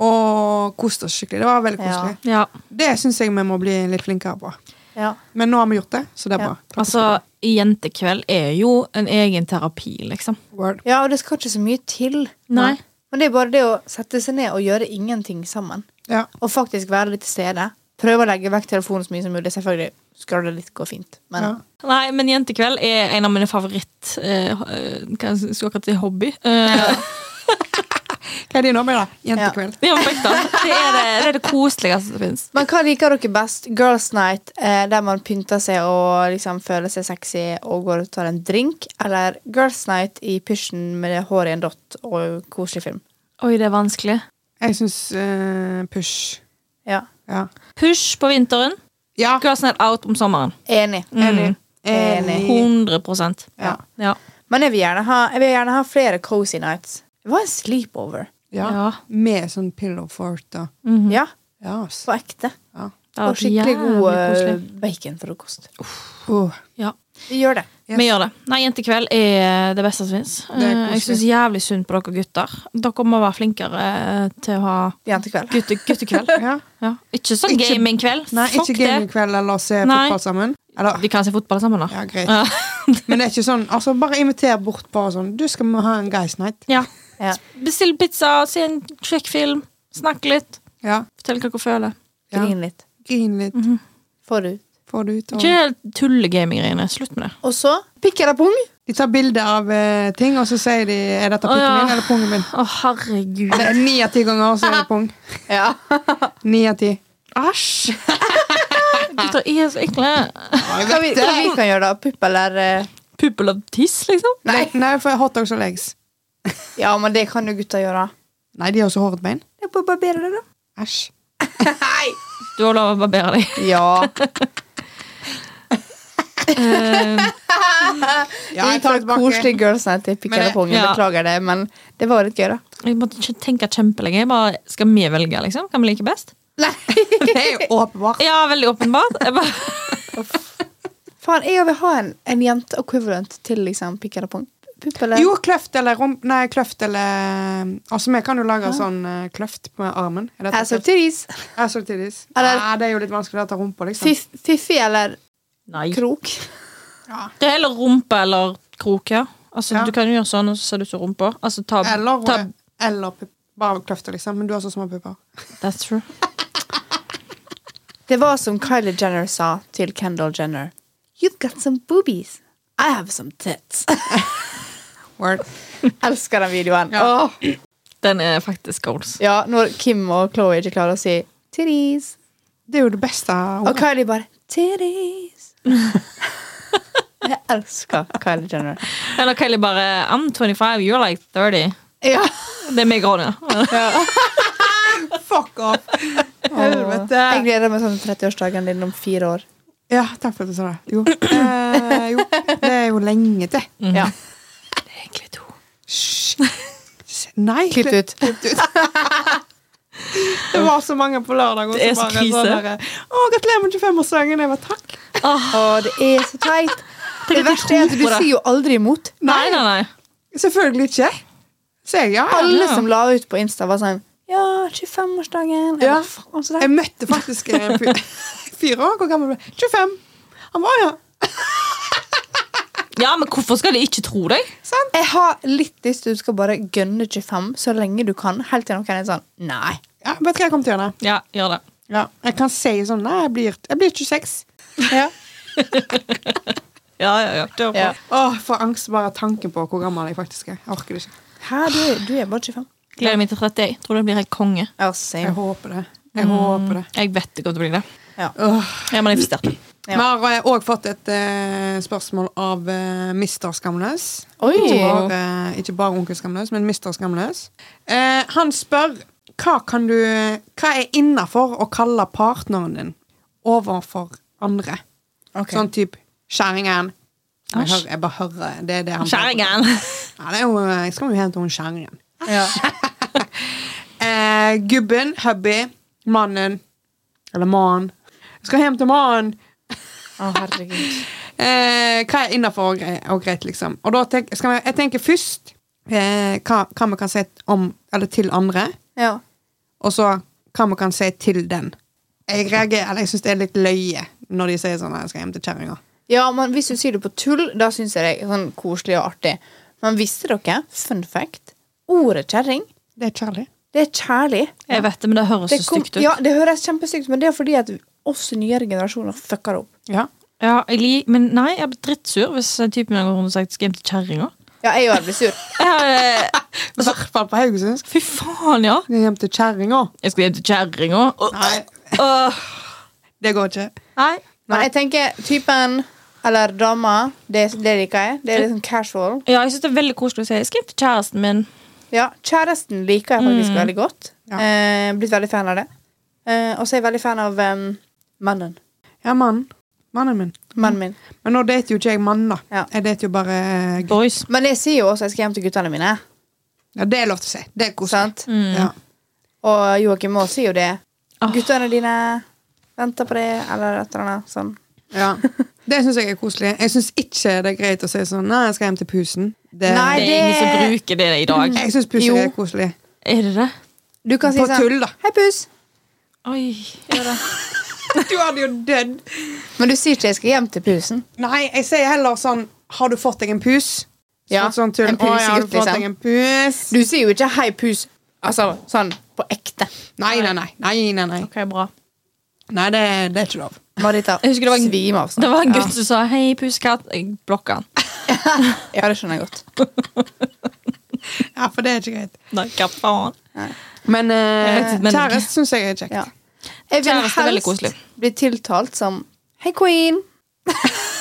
S1: og koste oss skikkelig. Det var veldig
S3: Ja.
S1: koselig.
S2: Ja,
S1: Det syns jeg vi må bli litt flinkere på.
S3: Ja.
S1: Men nå har vi gjort det, så det er
S3: Ja.
S1: bra. Takk for
S2: altså, Jentekveld er jo en egen terapi, liksom.
S1: Word.
S3: ja, og det skal ikke så mye til.
S2: Nei.
S3: Men det er bare det å sette seg ned og gjøre ingenting sammen.
S1: Ja.
S3: Og faktisk være litt til stede. Prøve å legge vekk telefonen så mye som mulig. Selvfølgelig skal det litt gå fint. Men
S1: Ja.
S2: Nei, men Jentekveld er en av mine favoritt... Eh, eh, hva jeg skulle akkurat si hobby. Eh,
S1: Hva er din hobby, da? Jentekveld?
S2: ja, men på ekte. det, er det, det er det koseligste som finnes.
S3: Men hva liker dere best? Girls night, eh, der man pynter seg og liksom føler seg sexy og går og tar en drink? Eller girls night i pysjen med hår i en dott og koselig film?
S2: Oi, det er vanskelig.
S1: Jeg syns eh, push.
S3: Ja,
S1: Ja.
S2: Push på vinteren,
S1: ja. Eh,
S2: girls night out om sommeren.
S3: Enig.
S1: Enig.
S3: Enig.
S2: 100
S1: Ja.
S2: Ja.
S3: Men jeg vil gjerne ha, jeg vil gjerne ha flere cozy nights. Det var en sleepover.
S1: Ja.
S2: Ja.
S1: Med sånn pillow fort og
S3: Ja,
S1: Ja, ass.
S3: på ekte.
S1: Ja.
S2: Det hadde
S3: Og
S2: vært jævlig
S3: skikkelig god eh,
S2: koselig.
S3: baconfrokost.
S1: Åh,
S2: Ja.
S3: Vi gjør det.
S1: yes.
S2: Vi gjør det. Nei, Jentekveld er det beste som fins.
S1: Det er
S2: Jeg syns jævlig synd på dere gutter. Dere må være flinkere eh, til å ha
S3: Jentekveld.
S2: gutte, guttekveld.
S1: Ja.
S2: Ja. Ikke sånn
S1: Ikke-
S2: gamingkveld.
S1: Nei,
S2: Fuck
S1: ikke gamingkveld eller se
S2: Nei.
S1: fotball sammen. Eller,
S2: det. Vi kan se fotball sammen, da.
S1: ja, greit.
S2: Ja.
S1: Men det er ikke sånn, altså bare inviter bort bare sånn, du skal vi ha en guys night.
S2: Ja.
S3: Ja.
S2: Bestill pizza, se en kjekk film, snakk litt.
S1: Ja,
S2: Fortell hva dere føler.
S1: ja.
S3: Grin litt.
S1: Grin litt,
S3: Forut.
S1: få det ut. Og...
S2: Ikke de tullegaminggreiene. Slutt med det.
S3: Og så pikk eller pung.
S1: De tar bilder av eh, ting, og så sier de, er dette
S2: Å,
S1: pikken
S2: ja.
S1: min eller pungen min?
S2: Å, herregud.
S1: Det er Ni av ti ganger, så er det pung.
S3: Ja.
S1: Ni av ti.
S2: Æsj! Gutter er så ekle.
S3: Hva vi, hva vi kan gjøre, da? Pupp eller eh,
S2: Puppel av tiss, liksom.
S1: Nei, nei for hotdogs og legs.
S3: Ja, men det kan jo gutta gjøre.
S1: Nei, de har så håret bein.
S3: Det er bare å barbere det, da.
S1: Æsj.
S2: Du har lov å barbere deg.
S3: Ja.
S1: Ja,
S3: jeg tar
S1: tilbake.
S3: koselig girls night til pikk
S1: Men
S3: eller
S1: det-
S3: pung.
S2: ja.
S3: Beklager det, men det var litt gøy, da.
S2: Jeg måtte ikke tenke kjempelenge. Jeg bare, skal vi velge, liksom? Kan vi like best?
S1: Det er jo åpenbart.
S2: Ja, veldig åpenbart. Jeg bare,
S3: Faen, jeg vil ha en, en jente equivalent til liksom pikk eller pung. Pupp eller
S1: Jo, kløft eller rump... Nei, kløft eller Altså, vi kan jo lage sånn eh, kløft med armen. Er dette
S3: Ass or
S1: kløft?
S3: titties.
S1: Ass or titties.
S3: Eller-
S1: Nei, det er jo litt vanskelig å ta rumpa, liksom.
S3: Fiff- Fiffi eller
S2: nei.
S3: krok.
S2: Det er heller rumpe eller krok, ja. Altså,
S1: Ja.
S2: Du kan jo gjøre sånn, og så ser du ut som rumpa. Altså, ta,
S1: Eller, eh,
S2: ta,
S1: eller pup- bare kløfter, liksom. Men du har så små pupper.
S2: That's true.
S3: Det var som Kylie Jenner sa til Kendall Jenner. You've got some boobies. I have some tits.
S1: Word.
S3: Elsker den videoen.
S1: Ja.
S3: Åh.
S2: Den er faktisk goals.
S3: Ja, når Kim og Chloé ikke klarer å si titties.
S1: Det er jo det beste.
S3: Og Kylie bare titties. Jeg elsker Kylie Jenner.
S2: Eller Kylie bare I'm 25, you're like 30.
S3: Ja.
S2: Det er meg, Ronja.
S1: Fuck off! Helvete.
S3: Jeg gleder meg sånn til 30-årsdagen din om fire år.
S1: Ja, takk for at du sa det. Jo. Eh, jo. Det er jo lenge til.
S3: Ja.
S2: Det er egentlig to.
S1: Hysj. Nei.
S3: Klipp ut.
S1: Det var så mange på lørdag. og
S2: Det er
S1: så
S2: så
S1: bare
S2: krise.
S1: sånn derre, Å, gratulerer med 25-årsdagen. Jeg var takk.
S3: Å, det er så teit. Det
S2: at de
S3: verste er at
S2: tror
S3: du
S2: på det.
S3: sier jo aldri imot.
S2: Nei, nei, nei.
S1: Selvfølgelig ikke. Så jeg, ja, ja.
S3: Alle
S2: Ja.
S3: som la ut på Insta, var sånn Ja, 25-årsdagen. Jeg
S1: Ja.
S3: bare, faen, altså, så teit.
S1: Jeg møtte faktisk en fyr Fire år, hvor gammel ble du? 25. Han var ja.
S2: Ja, men hvorfor skal de ikke tro deg?
S3: Jeg har litt lyst til at du skal bare gønne 25 så lenge du kan, helt til noen er sånn Nei.
S1: ja Vet du hva jeg kommer til å gjøre?
S2: Ja, gjør det.
S1: Ja. Jeg kan si sånn Nei, jeg blir, jeg blir 26.
S2: Ja, ja, ja. Kjør på.
S3: Ja.
S1: Åh, får angst bare av tanken på hvor gammel jeg faktisk er. Jeg orker det ikke.
S3: Hæ, du, du er bare 25.
S2: Gleder meg til 30. Jeg tror det blir helt konge.
S3: Ja,
S1: Jeg
S3: same.
S1: håper det. Jeg håper det.
S2: Jeg vet det kommer til å bli det.
S3: Ja.
S1: Åh.
S2: Jeg manifesterer.
S3: Ja.
S1: Vi har òg fått et eh, spørsmål av uh, Mister Skamløs.
S3: Oi!
S1: Ikke bare, eh, ikke bare Onkel Skamløs, men Mister Skamløs. Eh, han spør hva kan du Hva er innafor å kalle partneren din overfor andre?
S3: Ok.
S1: Sånn type kjerringeren. Jeg,
S2: Æsj.
S1: hører- jeg bare hører det er det han
S2: Kjerringen.
S1: Ja, det er jo, jeg skal jo hente hun kjerringen.
S3: Ja.
S1: Eh, gubben, hubby, mannen Eller mannen. Jeg skal hjem til mannen.
S3: Å, herregud.
S1: Eh, hva er innafor og, gre- og greit, liksom. Og da tenk, skal vi, jeg tenker først eh, hva, hva vi kan si om, eller til andre,
S3: Ja.
S1: og så hva vi kan si til den. Jeg reagerer, eller jeg syns det er litt løye når de sier sånn «Nei, 'Jeg skal hjem til kjerringa'.
S3: ja, men hvis du sier det på tull, da syns jeg det er sånn koselig og artig. Men visste dere, fun fact, ordet kjerring,
S1: Det er kjærlig.
S3: det er kjærlig.
S2: Jeg vet det, men det høres
S3: Det,
S2: så
S3: kom,
S2: stygt ut.
S3: ja, det høres kjempestygt ut, men det er fordi at oss nyere generasjoner fucker det opp.
S1: Ja.
S2: Ja, jeg lik, men nei, jeg blir drittsur hvis typen min går rundt og sier at jeg skal hjem til kjerringa.
S3: Ja, jeg òg blir sur.
S2: Jeg, eh,
S1: I hvert fall på Haugesund.
S2: Fy faen, ja!
S1: Skal jeg hjem til kjerringa?
S2: Jeg skal hjem til kjerringa. Åh,
S1: Nei,
S2: åh.
S1: det går ikke.
S2: Nei.
S3: Men jeg tenker typen eller dama, det, det liker jeg. Det er litt sånn casual.
S2: Ja, jeg synes det er veldig koselig å si jeg skal hjem til kjæresten min.
S3: Ja, kjæresten liker jeg faktisk veldig godt.
S1: Ja.
S3: Eh, blitt veldig fan av det. Eh, og så er jeg veldig fan av em, mannen.
S1: Ja, mannen. Mannen min.
S3: Mannen min.
S1: Men nå dater jo ikke jeg mann, da.
S3: Ja.
S1: Jeg dater jo bare eh, gutt.
S2: Boys.
S3: Men jeg sier jo også jeg skal hjem til guttene mine.
S1: Ja, det er lov til å si. Det
S2: Mm.
S3: Mm.
S1: er koselig.
S3: Sant?
S1: Ja.
S3: Og Joakim Aas sier jo det.
S2: Åh.
S3: Guttene dine Venter på det, eller et eller annet sånn.
S1: Ja. Det syns jeg er koselig. Jeg syns ikke det er greit å si sånn Nei, jeg skal hjem til pusen. Det,
S3: Nei,
S2: Det er ingen som
S3: det- Mm.
S2: bruker det i dag.
S1: Jeg syns pusen
S3: Jo.
S1: er koselig.
S2: Er det det?
S3: Du kan si
S1: På
S3: sånn
S1: tull, da.
S3: Hei, pus.
S2: Oi.
S1: Du hadde jo dødd.
S3: Men du sier ikke jeg skal hjem til pusen.
S1: Nei, jeg sier heller sånn Har du fått deg en pus?
S3: Ja,
S1: Sånn sånn tull.
S3: en
S1: Å, ja, har du
S3: pusegutt,
S1: fått
S3: liksom.
S1: deg en pus?
S3: Du sier jo ikke 'hei, pus' altså, sånn på ekte.
S1: Nei, nei, nei. Nei, nei, nei.
S2: Ok, bra.
S1: nei det, det er ikke lov.
S3: Marita
S2: Jeg husker det var en-
S3: svime av sånn. snart.
S2: Det var en gutt som sa 'hei, pusekatt'. Jeg blokka han.
S3: Ja, det skjønner jeg godt.
S1: Ja, for det er ikke greit.
S2: Nei, hva faen?
S1: Men eh,
S2: vet, men-
S1: kjæreste syns jeg er kjekt.
S3: Ja. Jeg vil
S2: Kjæreste er veldig koselig.
S3: helst bli tiltalt som 'hei, queen'.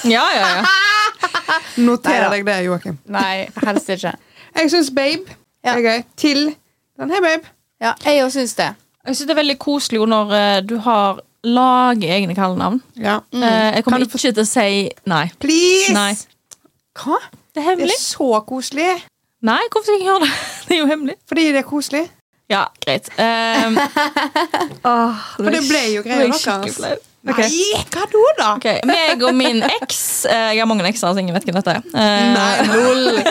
S2: Ja, ja, ja.
S1: Noter
S3: Neida.
S1: deg det, Joakim.
S3: Nei, helst ikke.
S1: Jeg syns babe
S3: Ja.
S1: er gøy. Til den. Hei, babe.
S3: Ja, jeg òg syns det.
S2: Jeg synes det er veldig koselig jo når eh, du har laget egne kallenavn.
S1: Ja.
S2: Eh,
S1: Mm. Kan
S2: jeg kommer
S1: du
S2: ikke til å si nei.
S1: Please!
S2: Nei.
S1: Hva?
S2: Det er
S1: Det
S2: hemmelig.
S1: er så koselig.
S2: Nei, hvorfor skal jeg gjøre det? Det er jo hemmelig.
S1: Fordi det er koselig.
S2: Ja, greit. Um,
S1: For det ble jo greia deres. Nei, hva da, da?
S2: Ok, meg og min eks eh, Jeg har mange ekser, så ingen vet hvem dette er. Eh,
S1: Nei, lol.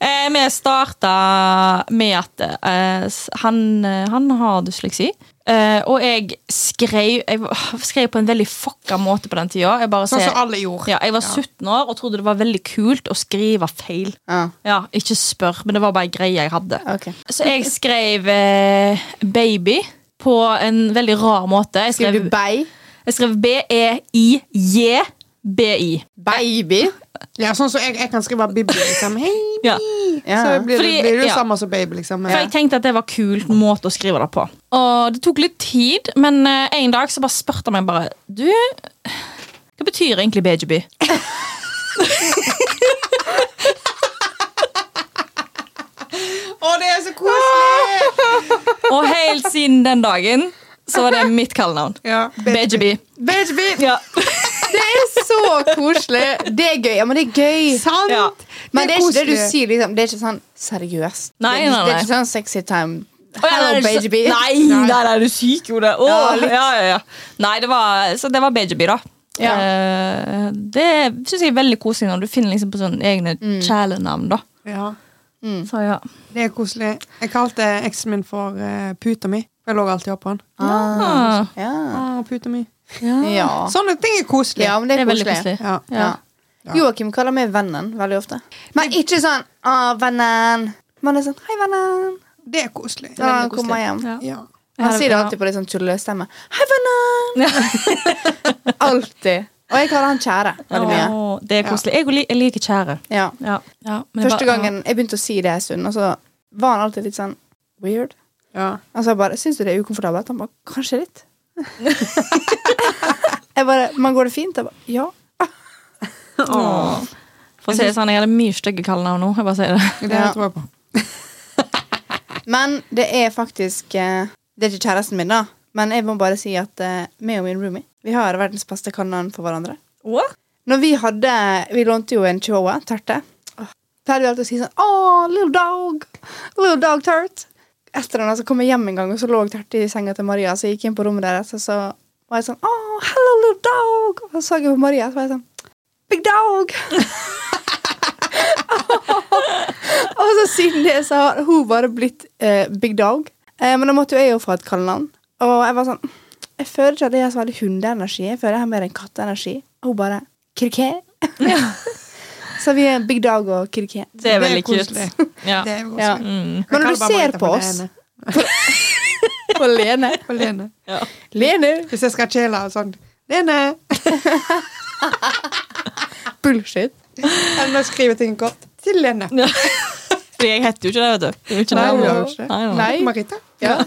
S2: eh, vi starta med at eh, s- han, eh, han har dysleksi. Eh, og jeg skrev Jeg var- skrev på en veldig fucka måte på den tida. Jeg, bare
S1: Sånn
S2: ser-
S1: som alle gjorde.
S2: ja, jeg var 17 år og trodde det var veldig kult å skrive feil.
S3: Ja,
S2: Ja, Ikke spør, men det var bare en greie jeg hadde.
S3: ok.
S2: Så jeg skrev eh, 'baby' på en veldig rar måte. Jeg
S3: Skriver du
S2: skrev,
S3: bei?
S2: jeg skrev E B-E-I-J-B-I.
S3: Baby?
S1: Ja, sånn som jeg, jeg kan skrive Bibi. Liksom. Hei,
S2: Ja.
S1: Så
S3: Ja.
S1: blir,
S2: Fordi-
S1: du- blir du
S2: ja.
S1: samme som babe, liksom.
S2: For jeg tenkte at det var kult måte å skrive det på. Og det tok litt tid, men eh, en dag så bare spurte han meg bare Du, hva betyr egentlig baby?
S1: Å, det er så koselig!
S2: Og helt siden den dagen så var det mitt kallenavn.
S1: Ja,
S2: Baby.
S1: Baby!
S2: Ja.
S3: Det er så koselig! Det er gøy. Ja, men det er gøy.
S1: Sant!
S2: Ja.
S3: Men det er ikke det du
S1: koselig.
S3: sier, liksom. Det er ikke sånn seriøst.
S2: Nei,
S3: det, er,
S2: nei,
S3: det er
S2: nei.
S3: ikke sånn sexy time.
S2: Å, ja,
S3: Hello,
S2: nei, er
S3: baby.
S2: så- Nei, nei, nei, er du syk, Jode? Å,
S3: Ja,
S2: ja,
S3: litt.
S2: ja, ja. Nei, det var, så det var baby, da.
S3: Ja.
S2: Eh, det syns jeg er veldig koselig når du finner liksom på sånne egne
S3: Mm.
S2: kjælenavn. da
S1: Ja,
S2: Så ja
S1: det er koselig. Jeg kalte eksen min for eh, puta mi. Jeg lå alltid oppå han.
S2: Ah.
S3: Ja.
S1: Å, puta mi.
S3: Ja.
S1: Sånne ting er koselig.
S3: ja, men det er,
S2: Det er veldig
S3: koselig.
S2: koselig.
S1: Ja.
S3: Ja. Joakim kaller meg vennen veldig ofte. Men ikke sånn 'Å, vennen'. Men det er sånn 'Hei, vennen'.
S1: Det er koselig.
S3: Når han
S2: veldig
S3: kommer hjem.
S2: Ja.
S1: Ja.
S3: Han sier det alltid på litt sånn tullestemme. 'Hei, vennen'.
S2: Ja.
S3: Alltid. Og jeg kaller han kjære veldig mye.
S2: Åh, det er koselig. Jeg, lik- jeg liker kjære.
S3: Ja.
S2: Ja. Ja, men det
S3: Første
S2: var-
S3: gangen jeg begynte å si det en stund, og så var han alltid litt sånn weird.
S1: Ja.
S3: Og så jeg bare 'Syns du det er ukomfortabelt?' Han bare 'Kanskje litt'. jeg bare 'Men går det fint?' Jeg bare 'Ja'.
S2: Åh. For å si det sånn, jeg hadde mye stygge kallenavn nå. Jeg bare sier det.
S1: Det
S3: Ja.
S1: tror jeg på.
S3: Men det er faktisk eh, Det er ikke kjæresten min, da. Men jeg må bare si at eh, meg og min roomie Vi har verdens beste kanon for hverandre. Når vi hadde Vi lånte jo en chihuahua, Terte. Åh, Pleide vi alltid å si sånn Åh, little dog. Little dog tert. Etter den, så kom jeg hjem en gang, og så lå Terte i senga til Maria. Så jeg gikk inn på rommet deres, og så var jeg sånn Åh, hello, little dog. Og så så jeg på Maria, så var jeg sånn Big dog. Og så siden det så har hun bare blitt eh, Big Dog. Eh, men da måtte jo jeg jo få et kallenavn. Og jeg var sånn Jeg føler ikke at jeg har så veldig hundeenergi. Jeg føler jeg har mer en katteenergi. Og hun bare Kirke. så vi er Big Dog og Kirke.
S2: Det er
S1: Det er
S2: veldig cute.
S1: koselig.
S2: Ja.
S1: Det er jo
S3: Ja.
S1: koselig.
S2: Mm.
S1: Jeg
S3: Men når
S1: kaller
S3: du
S1: bare
S3: ser
S1: Marita
S3: på
S1: for
S3: oss
S1: Lene.
S3: Og Lene.
S1: For Lene.
S2: Ja.
S3: Lene.
S1: Hvis jeg skal chille og sånn Lene!
S3: Bullshit.
S1: Eller når jeg skriver ting kort. Til Lene.
S2: Fordi jeg heter jo ikke det, vet du. Det er jo ikke
S1: Nei,
S2: det.
S1: hun gjør jo ikke det.
S2: Nei, nei.
S3: Nei.
S1: Marita.
S3: Ja.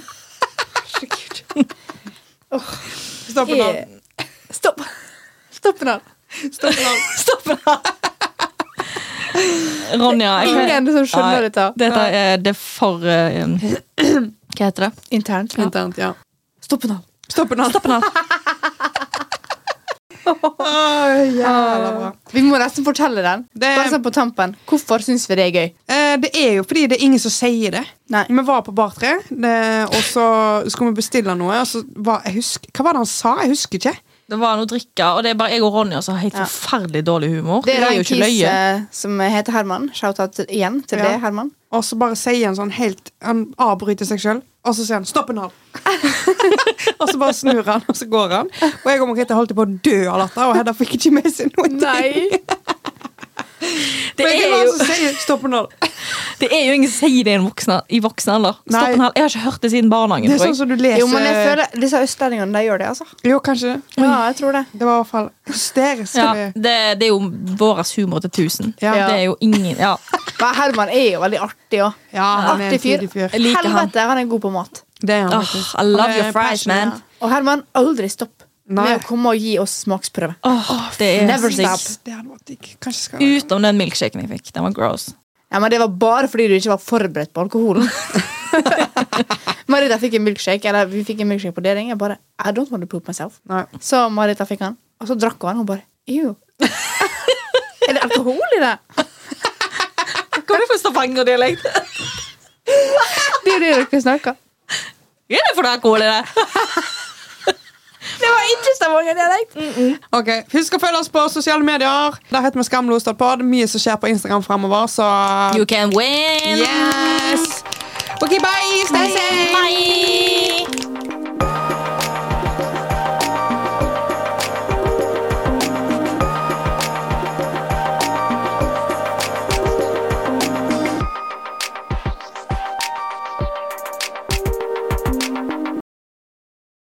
S1: Stopp en annen.
S3: Eh, Stopp. Stopp nå.
S1: Stopp en annen.
S2: Stopp med det! Ronja jeg kan-
S3: Ingen som skjønner
S2: Nei,
S3: dette.
S2: Dette er det er for eh, um, Hva heter det?
S3: Internt.
S1: Internt, ja.
S3: Stopp nå.
S1: Stopp en annen.
S2: Stopp den her.
S1: Å, jævla bra.
S3: Vi må nesten fortelle den.
S1: Det-
S3: Bare sånn på tampen. Hvorfor syns vi det er gøy?
S1: Eh, det er jo fordi det er ingen som sier det.
S3: Nei.
S1: Vi var på Bartre, det- og så skulle vi bestille noe. Og så var, jeg husker, hva var det han sa? Jeg husker ikke.
S2: Det var noe å drikke, og det er bare jeg og Ronja som har helt
S3: Ja.
S2: forferdelig dårlig humor.
S3: Det
S2: jo
S3: er en
S2: ikke
S3: kis
S2: løye.
S3: eh, som heter Herman. Shout-out til- igjen til
S1: Ja.
S3: det, Herman.
S1: Og så bare sier han sånn helt Han avbryter seg sjøl, og så sier han 'stopp en hal'. og så bare snur han, og så går han. Og jeg og Margrethe holdt på å dø av latter, og Hedda fikk ikke med seg noen ting.
S2: Det
S1: Men det
S2: er,
S1: er han
S2: jo,
S1: som sier 'stopp en hal'.
S2: det er jo ingen som sier det i en voksen, i voksen alder.
S1: Nei.
S2: Stopp en hal. Jeg har ikke hørt det siden barnehagen.
S1: Det er
S2: tror
S1: sånn
S2: jeg.
S1: som du leser
S3: Jo, men jeg føler Disse østlendingene, de gjør det, altså.
S1: Jo, kanskje det.
S3: eh. Ja, jeg tror det.
S1: Det var i hvert fall hysterisk.
S2: Ja,
S1: det-
S2: det, det er jo vår humor til tusen.
S1: Ja.
S2: Det er jo ingen ja.
S3: Men Herman er jo veldig artig òg.
S1: Ja, han er en
S3: Artig fyr.
S1: tidlig fyr.
S2: Jeg liker han.
S3: Helvete, han er god på mat.
S1: Det er han
S2: Åh,
S1: faktisk.
S2: I
S1: Han
S2: love
S1: er
S2: your fries, man.
S1: passionate.
S3: Og Herman, aldri stopp
S1: Nei.
S3: med å komme og gi oss smaksprøve.
S2: Åh, det er
S3: never
S2: sykt.
S3: stop.
S1: Det hadde vært digg. Kanskje skal
S2: Utenom den milkshaken jeg fikk. Den var gross.
S3: Ja, men Det var bare fordi du ikke var forberedt på alkoholen. Marita fikk en milkshake Eller vi fikk en milkshake på deling. Jeg bare I don't want to poop myself.
S1: Nei.
S3: Så Marita fikk han, og så drakk hun han. Hun bare Ew. er det alkohol i det?
S2: Hva er det for stavangerdialekt?
S3: Det er jo det dere snakker.
S2: Hva er det for noe alkohol i det?
S3: Det var ikke stavangerdialekt.
S1: Ok, Husk å følge oss på sosiale medier. Der heter vi Skamlostadpod. Mye som skjer på Instagram fremover, så
S2: You can win!
S1: Yes! Ok, bye! Stay safe!
S2: Bye!